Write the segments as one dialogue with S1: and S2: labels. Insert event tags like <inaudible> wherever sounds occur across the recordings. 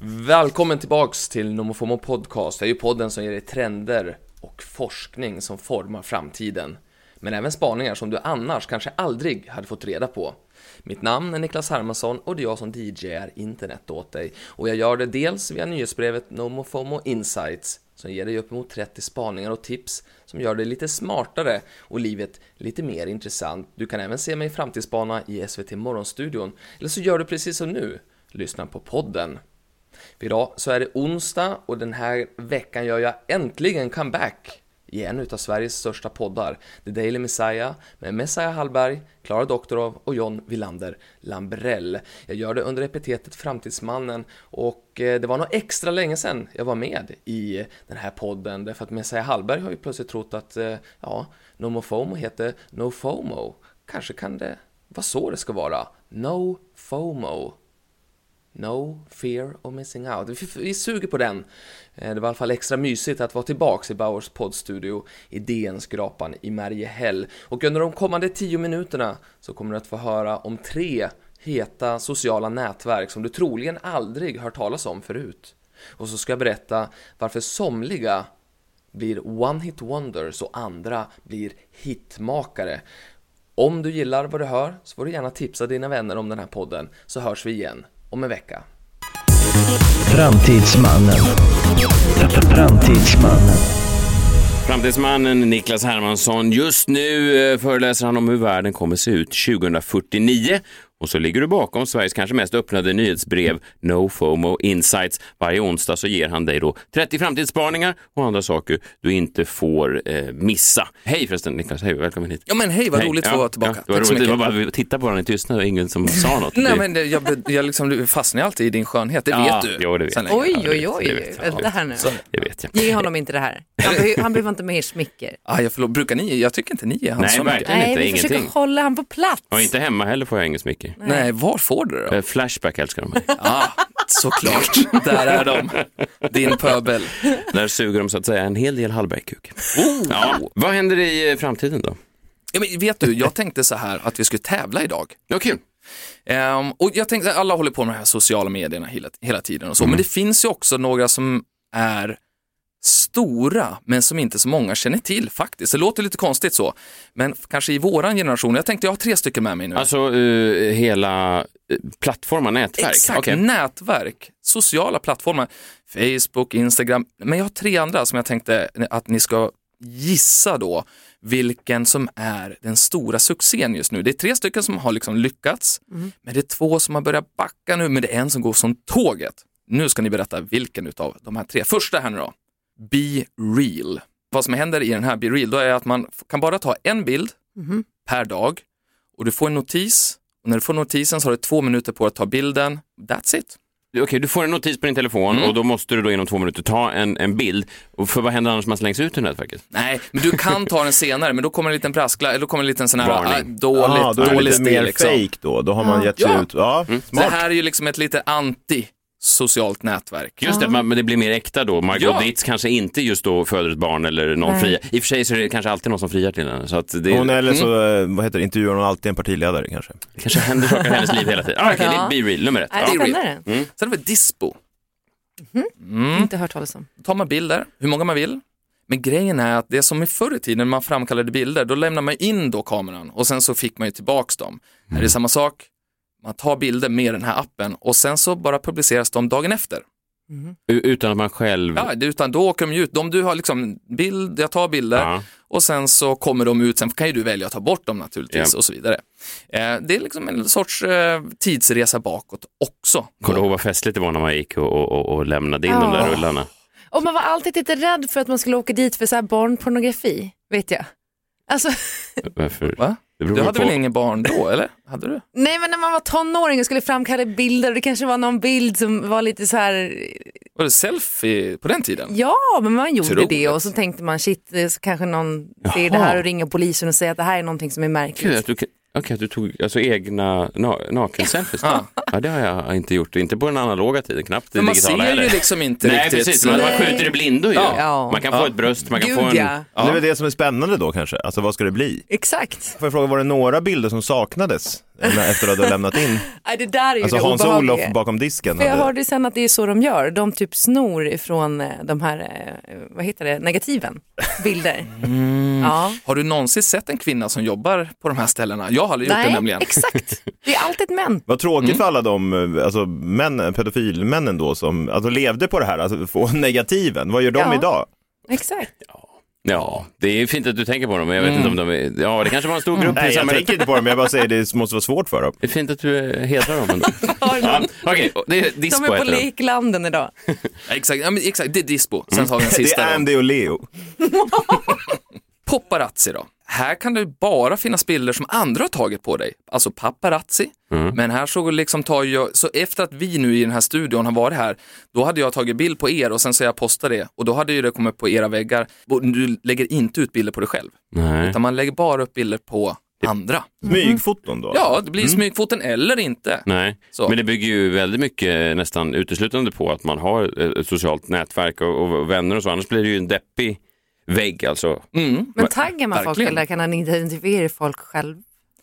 S1: Välkommen tillbaks till NomoFomo Podcast. Det är ju podden som ger dig trender och forskning som formar framtiden. Men även spaningar som du annars kanske aldrig hade fått reda på. Mitt namn är Niklas Hermansson och det är jag som DJar internet åt dig. Och jag gör det dels via nyhetsbrevet NomoFomo Insights som ger dig uppemot 30 spaningar och tips som gör dig lite smartare och livet lite mer intressant. Du kan även se mig i Framtidsspana i SVT Morgonstudion. Eller så gör du precis som nu, lyssna på podden. För idag så är det onsdag och den här veckan gör jag äntligen comeback i en utav Sveriges största poddar, The Daily Messiah med Messiah Hallberg, Klara Doktorov och John Wilander Lambrell. Jag gör det under epitetet Framtidsmannen och eh, det var nog extra länge sedan jag var med i den här podden därför att Messiah Hallberg har ju plötsligt trott att eh, ja, NomoFomo heter No FOMO. Kanske kan det vara så det ska vara. No FOMO. No fear of missing out. Vi, vi suger på den. Eh, Det var i alla fall extra mysigt att vara tillbaks i Bauers poddstudio i DN Skrapan i Mariehäll. Och under de kommande 10 minuterna så kommer du att få höra om tre heta sociala nätverk som du troligen aldrig hört talas om förut. Och så ska jag berätta varför somliga blir one-hit wonders och andra blir hitmakare. Om du gillar vad du hör så får du gärna tipsa dina vänner om den här podden så hörs vi igen om en vecka.
S2: Framtidsmannen. Framtidsmannen.
S3: Framtidsmannen Niklas Hermansson. Just nu eh, föreläser han om hur världen kommer se ut 2049. Och så ligger du bakom Sveriges kanske mest öppnade nyhetsbrev No FOMO Insights. Varje onsdag så ger han dig då 30 framtidsspaningar och andra saker du inte får eh, missa. Hej förresten Niklas, hej, välkommen hit.
S1: Ja men hej, vad
S3: Hej.
S1: roligt att
S3: Ja,
S1: få vara tillbaka.
S3: Ja, det var
S1: Tack så
S3: roligt, det var
S1: mycket.
S3: bara vi tittade på varandra i tystnad och ingen som sa
S1: <laughs>
S3: något.
S1: Nej men det, jag, be- jag liksom, du fastnar ju alltid i din skönhet, det
S3: Ja,
S1: vet du.
S3: jo, det vet
S1: Sen
S3: jag.
S1: länge.
S4: Oj,
S3: det
S4: oj,
S3: vet- det
S4: oj.
S3: vet jag.
S4: Vänta här nu.
S3: Det vet jag.
S4: Ge honom inte det här. Han, behö- han behöver inte mer smicker.
S1: Ah, jag förlåt, brukar ni, jag tycker inte ni är hans
S3: Nej,
S1: som är-
S3: verkligen.
S4: <laughs> Nej,
S3: inte,
S4: vi försöker
S3: ingenting.
S4: hålla han på plats.
S3: Och inte hemma heller får jag inget smicker.
S1: Nej, var får du det då?
S3: Eh, Flashback älskar de mig.
S1: Ah, såklart, där är de. Din pöbel.
S3: Där suger de så att säga en hel del Hallbergkuk. Ja. Vad händer i eh, framtiden då?
S1: Ja, men vet du, jag tänkte så här att vi skulle tävla idag.
S3: Ja, kul.
S1: Ehm, och jag tänkte, alla håller på med de här sociala medierna hela, hela tiden och så, men det finns ju också några som är stora, men som inte så många känner till faktiskt. Det låter lite konstigt så, men f- kanske i våran generation, jag tänkte jag har tre stycken med mig nu.
S3: Alltså eh, hela eh, plattformar, nätverk?
S1: Exakt, Mm.
S3: Okej.
S1: nätverk, sociala plattformar, Facebook, Instagram, men jag har tre andra som jag tänkte att ni ska gissa då vilken som är den stora succén just nu. Det är tre stycken som har liksom lyckats,
S3: Mm.
S1: men det är två som har börjat backa nu, men det är en som går som tåget. Nu ska ni berätta vilken utav de här tre. Första här nu då, Be Real. Vad som händer i den här Be Real, då är att man f- kan bara ta en bild
S3: Mm-hmm.
S1: per dag och du får en notis och när du får notisen så har du två minuter på att ta bilden. That's it.
S3: Okej, du får en notis på din telefon och då måste du då inom två minuter ta en, en bild. Och för vad händer annars om man slängs ut ur nätverket?
S1: Nej, men du kan ta den senare, men då kommer en liten braskla, eller då kommer en liten sån här, ah,
S3: Varning.
S1: dåligt,
S5: Ja, då är det Mm.
S1: dålig
S5: lite mer
S1: stil liksom.
S5: fake då. Då har man gett sig
S1: Ja.
S5: ut. Ja,
S1: Det
S5: smart.
S1: här är ju liksom ett lite anti-socialt nätverk.
S3: Just det, man, men det blir mer äkta då. Margot
S1: Ja.
S3: Ditz kanske inte just då föder ett barn eller någon
S4: Nej.
S3: friar. I och för sig så är det kanske alltid någon som friar till henne. Så att det
S5: Hon eller så, eh, vad heter det, intervjuar hon alltid en partiledare kanske.
S3: kanske händer saker i hennes liv hela tiden. Ah, Okej,
S4: Ja.
S3: det är Be Real, nummer ett.
S4: Är det
S1: Ja.
S4: spännande?
S1: Sen har vi Dispo.
S4: Inte hört talas om.
S1: Då tar man bilder, hur många man vill. Men grejen är att det är som i förr i tiden när man framkallade bilder, då lämnade man in då kameran och sen så fick man ju tillbaks dem. Här är
S3: Mm.
S1: det samma sak, man tar bilder med den här appen och sen så bara publiceras de dagen efter.
S3: U- Utan att man själv...
S1: Ja, det- utan då åker de ju ut, de du har liksom bild, jag tar bilder
S3: Ja.
S1: och sen så kommer de ut, sen kan ju du välja att ta bort dem naturligtvis
S3: Ja.
S1: och så vidare. Eh, det är liksom en sorts eh, tidsresa bakåt också.
S3: Kommer du ihåg vad festligt det var när man gick och, och, och- och lämnade in de där
S4: Ja.
S3: rullarna?
S4: Och man var alltid lite rädd för att man skulle åka dit för så här barnpornografi, vet jag. Alltså, <laughs>
S3: Varför?
S1: Va?
S3: Det beror
S1: Du hade
S3: på.
S1: väl ingen barn då, eller? Hade du?
S4: nej men när man var tonåring och skulle framkalla bilder och det kanske var någon bild som var lite så här,
S1: Var det selfie på den tiden?
S4: ja men man gjorde
S1: Otroligt.
S4: det och så tänkte man shit, eh, så kanske någon ser det
S3: Jaha.
S4: här och ringer polisen och säger att det här är någonting som är märkligt.
S3: Gud, att du kan... Okej, att du tog alltså, egna na nakenselfies?
S1: Ja.
S3: ja, det har jag inte gjort. Inte på den analoga tiden, knappt den
S1: Men man
S3: digitala
S1: ser
S3: heller.
S1: ju liksom inte
S3: Nej,
S1: riktigt.
S3: precis. Man, man
S4: Nej.
S3: skjuter i blindo ju.
S4: Ja.
S3: Man kan få ett bröst, man kan
S4: Gud
S3: få en...
S4: ja,
S5: Det är väl det som är spännande då kanske, alltså vad ska det bli?
S4: exakt.
S5: Får jag fråga, var det några bilder som saknades när- efter att du hade
S4: <laughs>
S5: lämnat in?
S4: Nej, det där är ju
S5: Alltså
S4: det
S5: Hans och Olof
S4: obehagliga.
S5: bakom disken?
S4: För jag
S5: hade-
S4: hörde ju sen att det är så de gör. De typ snor ifrån eh, de här, eh, vad heter det, negativen,
S3: <laughs>
S4: bilder.
S3: Mm.
S4: Ja.
S1: Har du någonsin sett en kvinna som jobbar på de här ställena? Jag har aldrig gjort det
S4: Nej,
S1: nämligen.
S4: exakt. Det är alltid män.
S5: Vad tråkigt för alla de eh, alltså, män, pedofilmännen då som alltså, levde på det här, alltså få <laughs> negativen. Vad gör de
S4: Ja.
S5: idag?
S4: Exakt.
S3: Ja, det är fint att du tänker på dem, men jag vet inte om de är... Ja, det kanske var en stor grupp i
S5: Nej, jag
S3: samhället.
S5: tänker inte på dem, jag bara säger det måste vara svårt för dem.
S3: Det är fint att du eh, hedrar dem ändå. ja, Okej, det är
S4: De
S3: dispo
S4: är på
S3: heter den.
S4: leklanden idag.
S1: Exakt, ja, men exakt, det är dispo. Sen tar vi den
S5: Det
S1: sista.
S5: är
S1: då.
S5: Andy och Leo.
S4: Mm-hmm.
S1: Paparazzi då. Här kan det ju bara finnas bilder som andra har tagit på dig. Alltså paparazzi. Men här så liksom tar jag, så efter att vi nu i den här studion har varit här, då hade jag tagit bild på er och sen så jag postar det och då hade ju det kommit på era väggar. Och Du lägger inte ut bilder på dig själv,
S3: Nej.
S1: utan man lägger bara upp bilder på andra.
S5: Smygfoton då?
S1: Ja, det blir smygfoten eller inte.
S3: Nej,
S1: Så.
S3: men det bygger ju väldigt mycket nästan uteslutande på att man har eh, ett socialt nätverk och, och, och vänner och så, annars blir det ju en deppig vägg alltså.
S1: mm.
S4: Men taggar man folk
S1: verkligen.
S4: eller kan han identifiera folk själv?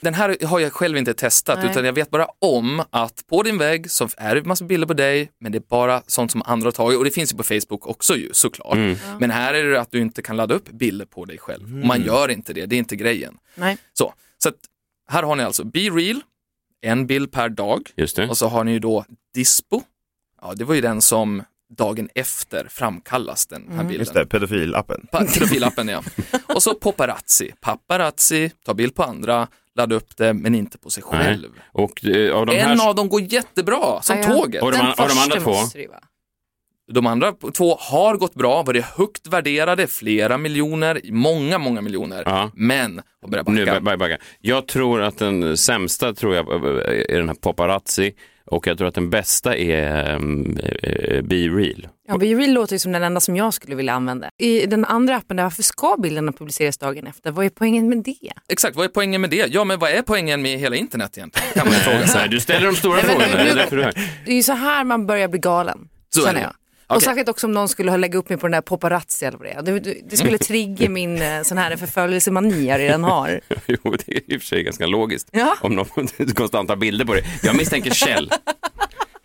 S1: Den här har jag själv inte testat
S4: Nej.
S1: utan jag vet bara om att på din vägg så är det massa bilder på dig men det är bara sånt som andra har tagit och det finns ju på Facebook också ju såklart. Men här är det att du inte kan ladda upp bilder på dig själv. Och Man gör inte det, det är inte grejen.
S4: Nej.
S1: Så, så att, här har ni alltså Be Real, en bild per dag
S3: Just det.
S1: och så har ni ju då Dispo. Ja, det var ju den som dagen efter framkallas den här
S4: Mm.
S1: bilden.
S5: Just det, pedofilappen.
S1: Pa- Profilappen ja. Och så paparazzi. Paparazzi, ta bild på andra, ladda upp det men inte på sig
S3: Nej.
S1: själv.
S3: Och eh, av de här...
S1: En av dem går jättebra, som
S4: Ja, ja.
S1: tåget.
S3: Och de an- och de
S4: första
S3: andra två?
S4: måste det ju vara.
S1: De andra två har gått bra, varit högt värderade, flera miljoner, många, många miljoner.
S3: Ja.
S1: Men har börjat
S3: Nu,
S1: backa.
S3: backa. Backa. Jag tror att den sämsta tror jag eh, är den här paparazzi och jag tror att den bästa är um, Be Real.
S4: Ja, Be Real låter ju som den enda som jag skulle vilja använda. I den andra appen, där, varför ska bilderna publiceras dagen efter? Vad är poängen med det?
S1: Exakt, vad är poängen med det? Ja, men vad är poängen med hela internet egentligen? Kan man ju fråga
S3: Så
S1: sig.
S3: här, du ställer de stora
S4: Nej, men
S3: frågorna, det är
S4: nu-
S3: därför du är här. <laughs>
S4: Det är ju så här man börjar bli galen,
S1: Så är
S4: känner
S1: det.
S4: jag. Och
S1: Okej.
S4: särskilt också om någon skulle ha lägga upp mig på den där paparazzi eller vad det är. Det, det, det
S3: <laughs>
S4: skulle trigga min eh, sån här förföljelsemani jag redan har.
S3: Jo, <laughs> det är i och för sig ganska logiskt
S4: Ja.
S3: om någon <laughs> konstant tar bilder på det. Jag misstänker
S4: <laughs>
S3: Kjell.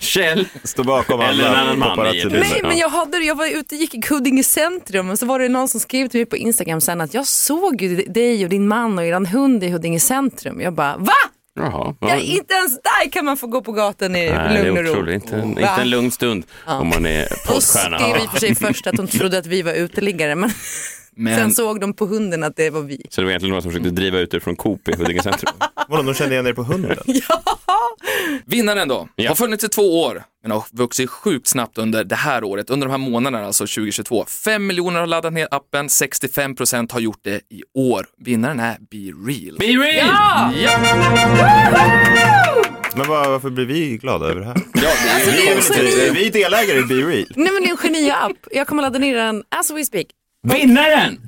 S3: Kjell,
S5: Står bakom
S3: Eller en
S5: alla
S3: annan man i
S5: paparazzi-bilder.
S3: Precis,
S4: Nej
S3: ja.
S4: men jag, hade, jag var ute och gick i Huddinge centrum och så var det någon som skrev till mig på Instagram sen att jag såg ju dig och din man och eran hund i Huddinge centrum. Jag bara va?
S3: jaha.
S4: Jag, inte ens där kan man få gå på gatan i
S3: Nej, det
S4: lugn och
S3: är
S4: ro.
S3: otroligt. Inte, en-
S4: Va?
S3: inte en lugn stund om man är
S4: Hon skrev
S3: poddstjärna.
S4: i och
S3: <laughs>
S4: för sig först att hon trodde att vi var uteliggare men sen
S1: Men
S4: såg de på hunden att det var vi.
S3: Så det var egentligen någon som försökte driva ut dig från Coop i Huddinge
S5: <laughs>
S3: centrum.
S5: Vadå, de kände igen er på <laughs> hunden?
S1: vinnaren då,
S3: Ja.
S1: har funnits i två år, men har vuxit sjukt snabbt under det här året, under de här månaderna, alltså 2022. Fem miljoner har laddat ner appen, 65 procent har gjort det i år. Vinnaren är Be Real.
S3: Be real!
S5: Men var, varför blir vi glada över Alltså, det här?
S4: det är
S5: vi, är inte, vi är delägare i Be Real.
S4: Nej men det är en geniapp. Jag kommer ladda ner den as we speak.
S3: Vinnaren!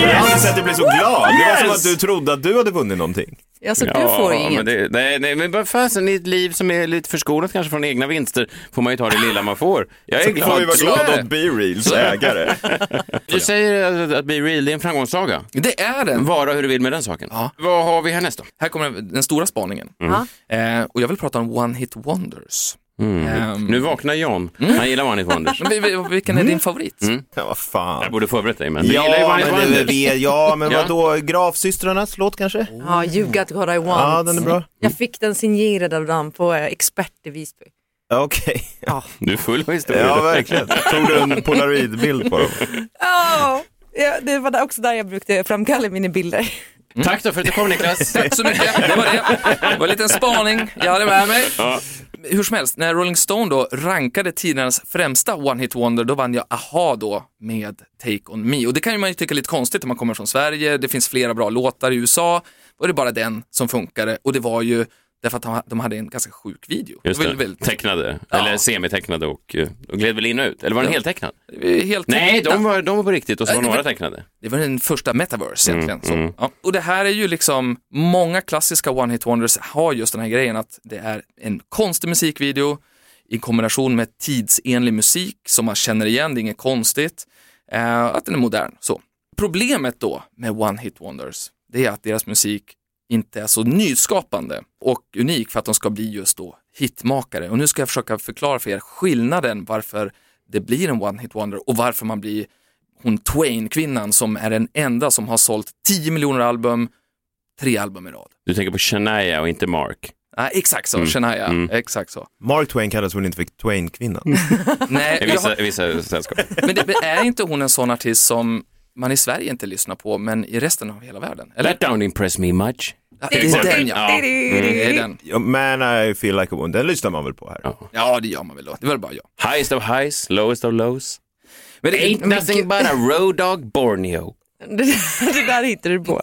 S5: Jag har aldrig sett dig bli så glad. Det var som att du trodde att du hade vunnit någonting.
S4: Alltså du får ju
S3: men
S4: inget.
S3: det, nej, nej, men vad fasen, i ett liv som är lite förskonat kanske från egna vinster får man ju ta det lilla man får. Jag är
S5: Får vi
S3: glad.
S5: vara
S1: så är
S5: glada
S1: det.
S5: åt Be Reals ägare.
S3: Du säger att, att Be Real det är en framgångssaga.
S1: Det är den.
S3: Vara hur du vill med den saken.
S1: Ja.
S3: Vad har vi härnäst
S5: Mm.
S3: då?
S1: Här kommer den stora spaningen.
S4: Ja.
S1: Eh, och jag vill prata om One Hit Wonders. Ehm,
S3: Mm. Nu vaknar John.
S5: Mm.
S3: Han gillar One Hit Wonders.
S1: vi- vi- vilken är din favorit?
S3: Mm.
S5: Ja, vad
S3: Jag
S5: fan.
S3: borde förberett dig, men du gillar ju
S5: Ja,
S3: One Hit
S5: men, det-
S3: Wonders.
S5: vi- ja, men
S3: Ja.
S5: vadå, Grafsystrarnas låt kanske?
S4: Ja, you got what I want.
S5: Ja, den är bra.
S4: Jag fick den signerad av dem på eh, expert i Visby.
S5: Ja, Okej.
S3: Du är full av historier.
S5: Ja, verkligen. Tog du en polaroidbild på dem?
S4: Oh, ja, det var där- också där jag brukade framkalla mina bilder.
S3: Tack då för att du kom Niklas.
S5: <laughs>
S1: Tack så mycket, det var det. Det var en liten spaning jag hade med mig. Hur som helst, när Rolling Stone då rankade tidernas främsta One Hit Wonder, då vann jag Aha då med Take On Me. Och det kan ju man ju tycka är lite konstigt när man kommer från Sverige, det finns flera bra låtar i USA, var det bara den som funkade och det var ju Därför att de- de hade en ganska sjuk video.
S3: Just
S1: det. var
S3: det.
S1: ju väldigt-
S3: Tecknade,
S1: Ja.
S3: eller semitecknade och, eh, och gled väl in och ut. Eller var
S1: Ja.
S3: den heltecknad?
S1: det var Helt
S3: Nej, de var, de var på riktigt och så var
S1: Nej, det
S3: några
S1: var-
S3: tecknade.
S1: Det var den första metaverse egentligen. så.
S3: mm.
S1: Ja. Och det här är ju liksom, många klassiska one-hit wonders har just den här grejen att det är en konstig musikvideo i kombination med tidsenlig musik som man känner igen, det är inget konstigt, eh, att den är modern. Så. Problemet då med one-hit wonders, det är att deras musik inte är så nyskapande och unik för att de ska bli just då hitmakare. Och nu ska jag försöka förklara för er skillnaden varför det blir en one-hit wonder och varför man blir hon Twain-kvinnan som är den enda som har sålt 10 miljoner album, tre album i rad.
S3: Du tänker på Shania och inte Mark.
S1: Nej, exakt så, Shania. Exakt så.
S5: Mark Twain kallades väl inte för Twain-kvinnan?
S1: <laughs> Nej,
S3: I
S1: jag
S3: vissa,
S1: har,
S3: i vissa sällskap.
S1: men det, är inte hon en sån artist som man i Sverige inte lyssnar på, men i resten av hela världen? Eller?
S3: That don't impress me much.
S1: Ja, det är den ja.
S3: Ja.
S1: Det är den.
S5: Ja, Man I feel like a woman, den lyssnar man väl på här?
S3: Ja.
S1: Ja, det gör man väl då. Det var bara jag.
S3: Highest of highs, lowest of lows.
S1: Men det,
S3: Ain't nothing but a road dog Borneo.
S4: Det, det där hittar du på.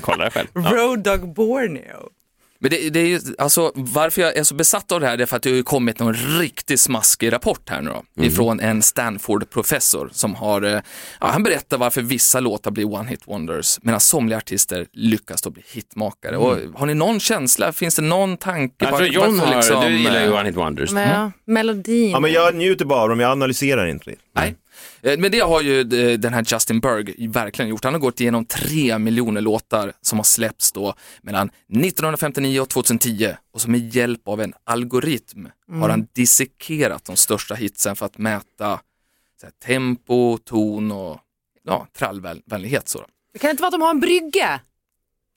S3: Kolla det själv. Ja.
S4: Road Dog Borneo.
S1: Men det, det är ju, alltså, varför jag är så besatt av det här det är för att det har ju kommit någon riktigt smaskig rapport här nu då,
S3: Mm.
S1: ifrån en Stanford-professor som har, eh, ja, han berättar varför vissa låtar blir one-hit wonders medan somliga artister lyckas då bli hitmakare. Och, har ni någon känsla, finns det någon tanke?
S3: Mm. Jag tror
S1: var-
S3: Alltså, John
S1: varför
S3: har,
S1: liksom,
S3: du gillar ju
S1: eh,
S3: One Hit Wonders.
S4: Men, ja, melodin.
S5: Ja, men jag njuter bara av dem, jag analyserar inte.
S1: Nej. Eh, Men det har ju eh, den här Justin Berg verkligen gjort. Han har gått igenom tre miljoner låtar som har släppts då mellan 1959 och 2010 och som med hjälp av en algoritm har han dissekerat de största hitsen för att mäta så här, tempo, ton och ja, trallvänlighet. Så då.
S4: Det kan inte vara att de har en brygga.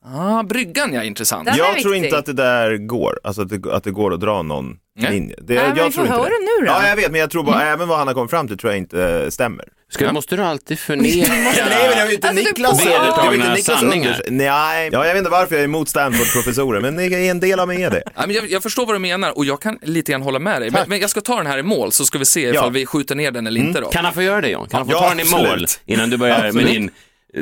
S1: Ah, bryggan ja, intressant.
S4: Den är
S5: jag tror
S4: viktig.
S5: inte att det där går, alltså att det, att det går att dra någon
S1: Nej.
S5: linje. Det,
S4: Nej, men
S5: jag
S4: vi får
S5: tror inte
S4: höra
S5: det.
S4: nu då. Mm.
S5: Ja, jag vet, men jag tror bara, även vad han har kommit fram till tror jag inte eh, stämmer.
S3: Ska, måste du
S1: <laughs>
S3: alltid förneka?
S5: Nej, men det var ju inte
S4: Alltså, du
S5: Niklas.
S4: påstår-
S5: det var ju
S3: Vedertagna
S5: inte Niklas
S3: sanningar.
S5: Anders. Nej, ja, jag vet inte varför jag är emot Stanford-professorer, men det är en del av mig
S1: <laughs>
S5: är det.
S1: Ja, men jag, jag förstår vad du menar och jag kan lite grann hålla med dig. Men, men jag ska ta den här i mål så ska vi se ifall
S5: Ja.
S1: vi skjuter ner den eller inte då.
S3: Kan han få göra det John? Kan han få
S5: Ja,
S3: ta den i
S5: absolut.
S3: mål innan du börjar
S5: Absolut.
S3: med din,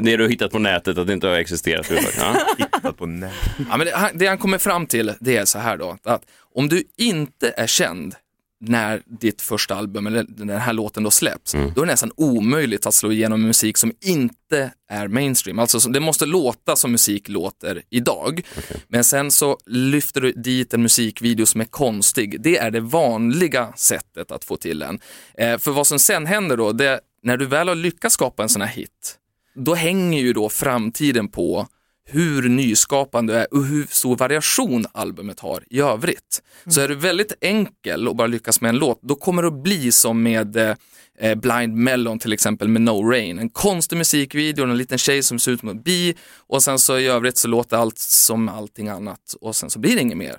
S3: det du har hittat på nätet att det inte har existerat förut?
S5: <laughs>
S3: Ja.
S5: Tittat på nej.
S1: Ja, men det, han, det han kommer fram till det är så här då, att om du inte är känd när ditt första album eller den här låten då släpps, då är det nästan omöjligt att slå igenom med musik som inte är mainstream. Alltså som- det måste låta som musik låter idag. Men sen så lyfter du dit en musikvideo som är konstig. Det är det vanliga sättet att få till en. Eh, för vad som sen händer då, det, när du väl har lyckats skapa en sån här hit, då hänger ju då framtiden på hur nyskapande du är och hur stor variation albumet har i övrigt. Så är du väldigt enkel och bara lyckas med en låt, då kommer det att bli som med eh, eh, Blind Melon till exempel med No Rain. En konstig musikvideo, en liten tjej som ser ut som en bi och sen så i övrigt så låter allt som allting annat och sen så blir det inget mer.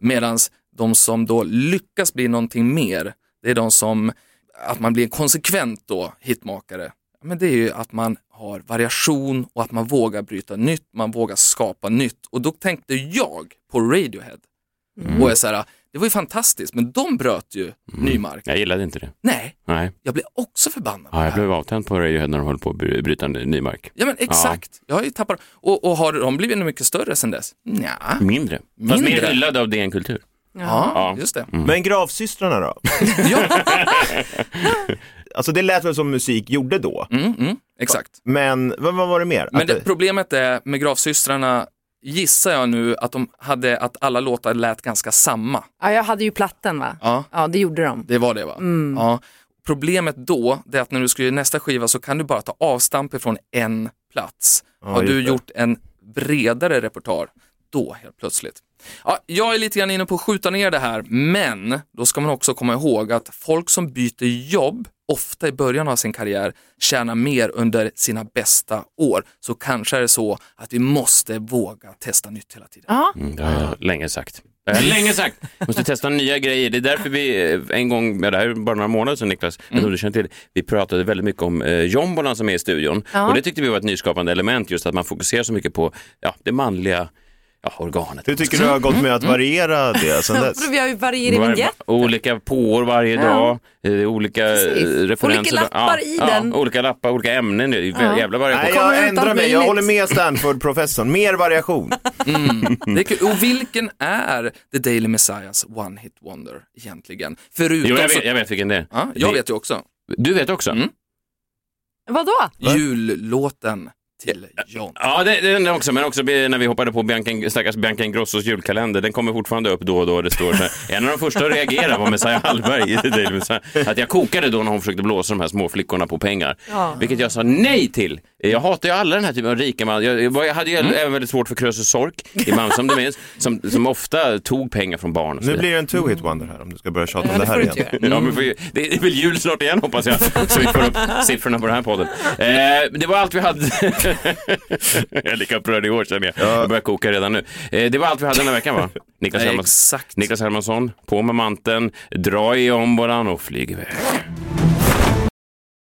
S1: Medan de som då lyckas bli någonting mer, det är de som, att man blir en konsekvent då hitmakare. Men det är ju att man har variation och att man vågar bryta nytt, man vågar skapa nytt. Och då tänkte jag på Radiohead. Och jag så här, det var ju fantastiskt, men de bröt ju ny mark.
S3: Jag gillade inte det.
S1: Nej,
S3: Nej,
S1: jag blev också förbannad. på
S3: ja,
S1: det
S3: jag
S1: här.
S3: blev avtänd på Radiohead när de höll på att bry- bryta ny ny mark.
S1: Ja men exakt, jag har ju tappat och, och har de blivit mycket större sen dess? Nja.
S3: Mindre. Fast mer
S1: Mindre?
S3: hyllad av DN Kultur.
S1: Ja,
S3: Ja.
S1: just det.
S5: Mm. Men gravsystrarna då?
S1: Ja,
S5: Alltså det lät väl som musik gjorde då,
S1: mm, mm, exakt.
S5: men vad, vad var det mer?
S1: Men
S5: Att
S1: det, problemet är med Gravsystrarna, gissar jag nu att de hade att alla låtar lät ganska samma.
S4: Ja, jag hade ju platten va?
S1: Ja.
S4: Ja, det gjorde de.
S1: Det var det va? Ja. Problemet då, det är att när du ska göra nästa skiva så kan du bara ta avstamp ifrån en plats. Har
S5: just
S1: du
S5: det.
S1: gjort en bredare repertoar, då helt plötsligt. Ja, jag är lite grann inne på att skjuta ner det här, men då ska man också komma ihåg att folk som byter jobb, ofta i början av sin karriär, tjänar mer under sina bästa år. Så kanske är det så att vi måste våga testa nytt hela tiden.
S3: Mm, det har jag länge sagt. Det har jag länge sagt! Måste testa nya grejer. Det är därför vi eh, en gång, ja, det här är bara några månader sedan Niklas, jag
S5: Mm.
S3: tror du känner till, vi pratade väldigt mycket om eh, jombolan som är i studion. Och det tyckte vi var ett nyskapande element, just att man fokuserar så mycket på ja, det manliga ja, organet.
S5: Hur tycker du har gått med att variera det
S4: <laughs>
S5: sen dess?
S4: Vadå, Vi har ju varierat
S3: Var-
S4: vinjett.
S3: olika påor varje dag, eh, olika eh,
S4: Precis.
S3: referenser.
S4: Olika lappar
S3: ja,
S4: i
S3: ja,
S4: den.
S3: Olika lappar, olika ämnen. Det är ju Jävla variation.
S5: Nej,
S4: Kommer
S5: jag
S4: ut
S5: ändrar
S4: allt
S5: mig. Jag
S4: möjligt.
S5: håller med Stanford-professorn. Mer variation.
S3: Mm.
S1: Det är kul. Och vilken är The Daily Messiahs One Hit Wonder egentligen? Förutom...
S3: Jo, jag
S1: så-
S3: vet, jag vet vilken det är.
S1: Ja, jag
S3: Det-
S1: vet ju också.
S3: Du vet också?
S1: Mm.
S4: Vadå?
S1: Jullåten till John.
S3: Ja, det, det är den också, men också när vi hoppade på Bianca, stackars Bianca Ingrossos julkalender. Den kommer fortfarande upp då och då. Det står så här. En av de första att reagera var Messiah Hallberg i The Daily Messiah. Att jag kokade då när hon försökte blåsa de här små flickorna på pengar.
S4: Ja.
S3: Vilket jag sa nej till. Jag hatar ju alla den här typen av rika man. Jag, jag, var- jag hade ju
S5: Mm.
S3: även väldigt svårt för Krösus Sork i Mamma om du
S5: <laughs>
S3: minns, som, som ofta tog pengar från barn. Och så
S5: Nu
S3: vidare.
S5: blir Mm. det en two-hit wonder här om du ska börja tjata
S4: Ja,
S5: om det
S4: det får
S5: här
S4: du inte
S5: igen.
S4: göra.
S3: Ja, men för, det är väl jul snart igen hoppas jag, så vi får upp siffrorna på den här podden. Eh, det var allt vi hade. <laughs> jag är lika upprörd i år känner jag. Jag börjar koka redan nu. Eh, det var allt vi hade den här veckan
S5: <laughs>
S3: va? Niklas, Hermansson,
S1: Exakt.
S3: Niklas Hermansson, på med manteln, dra i ombolan och flyg iväg.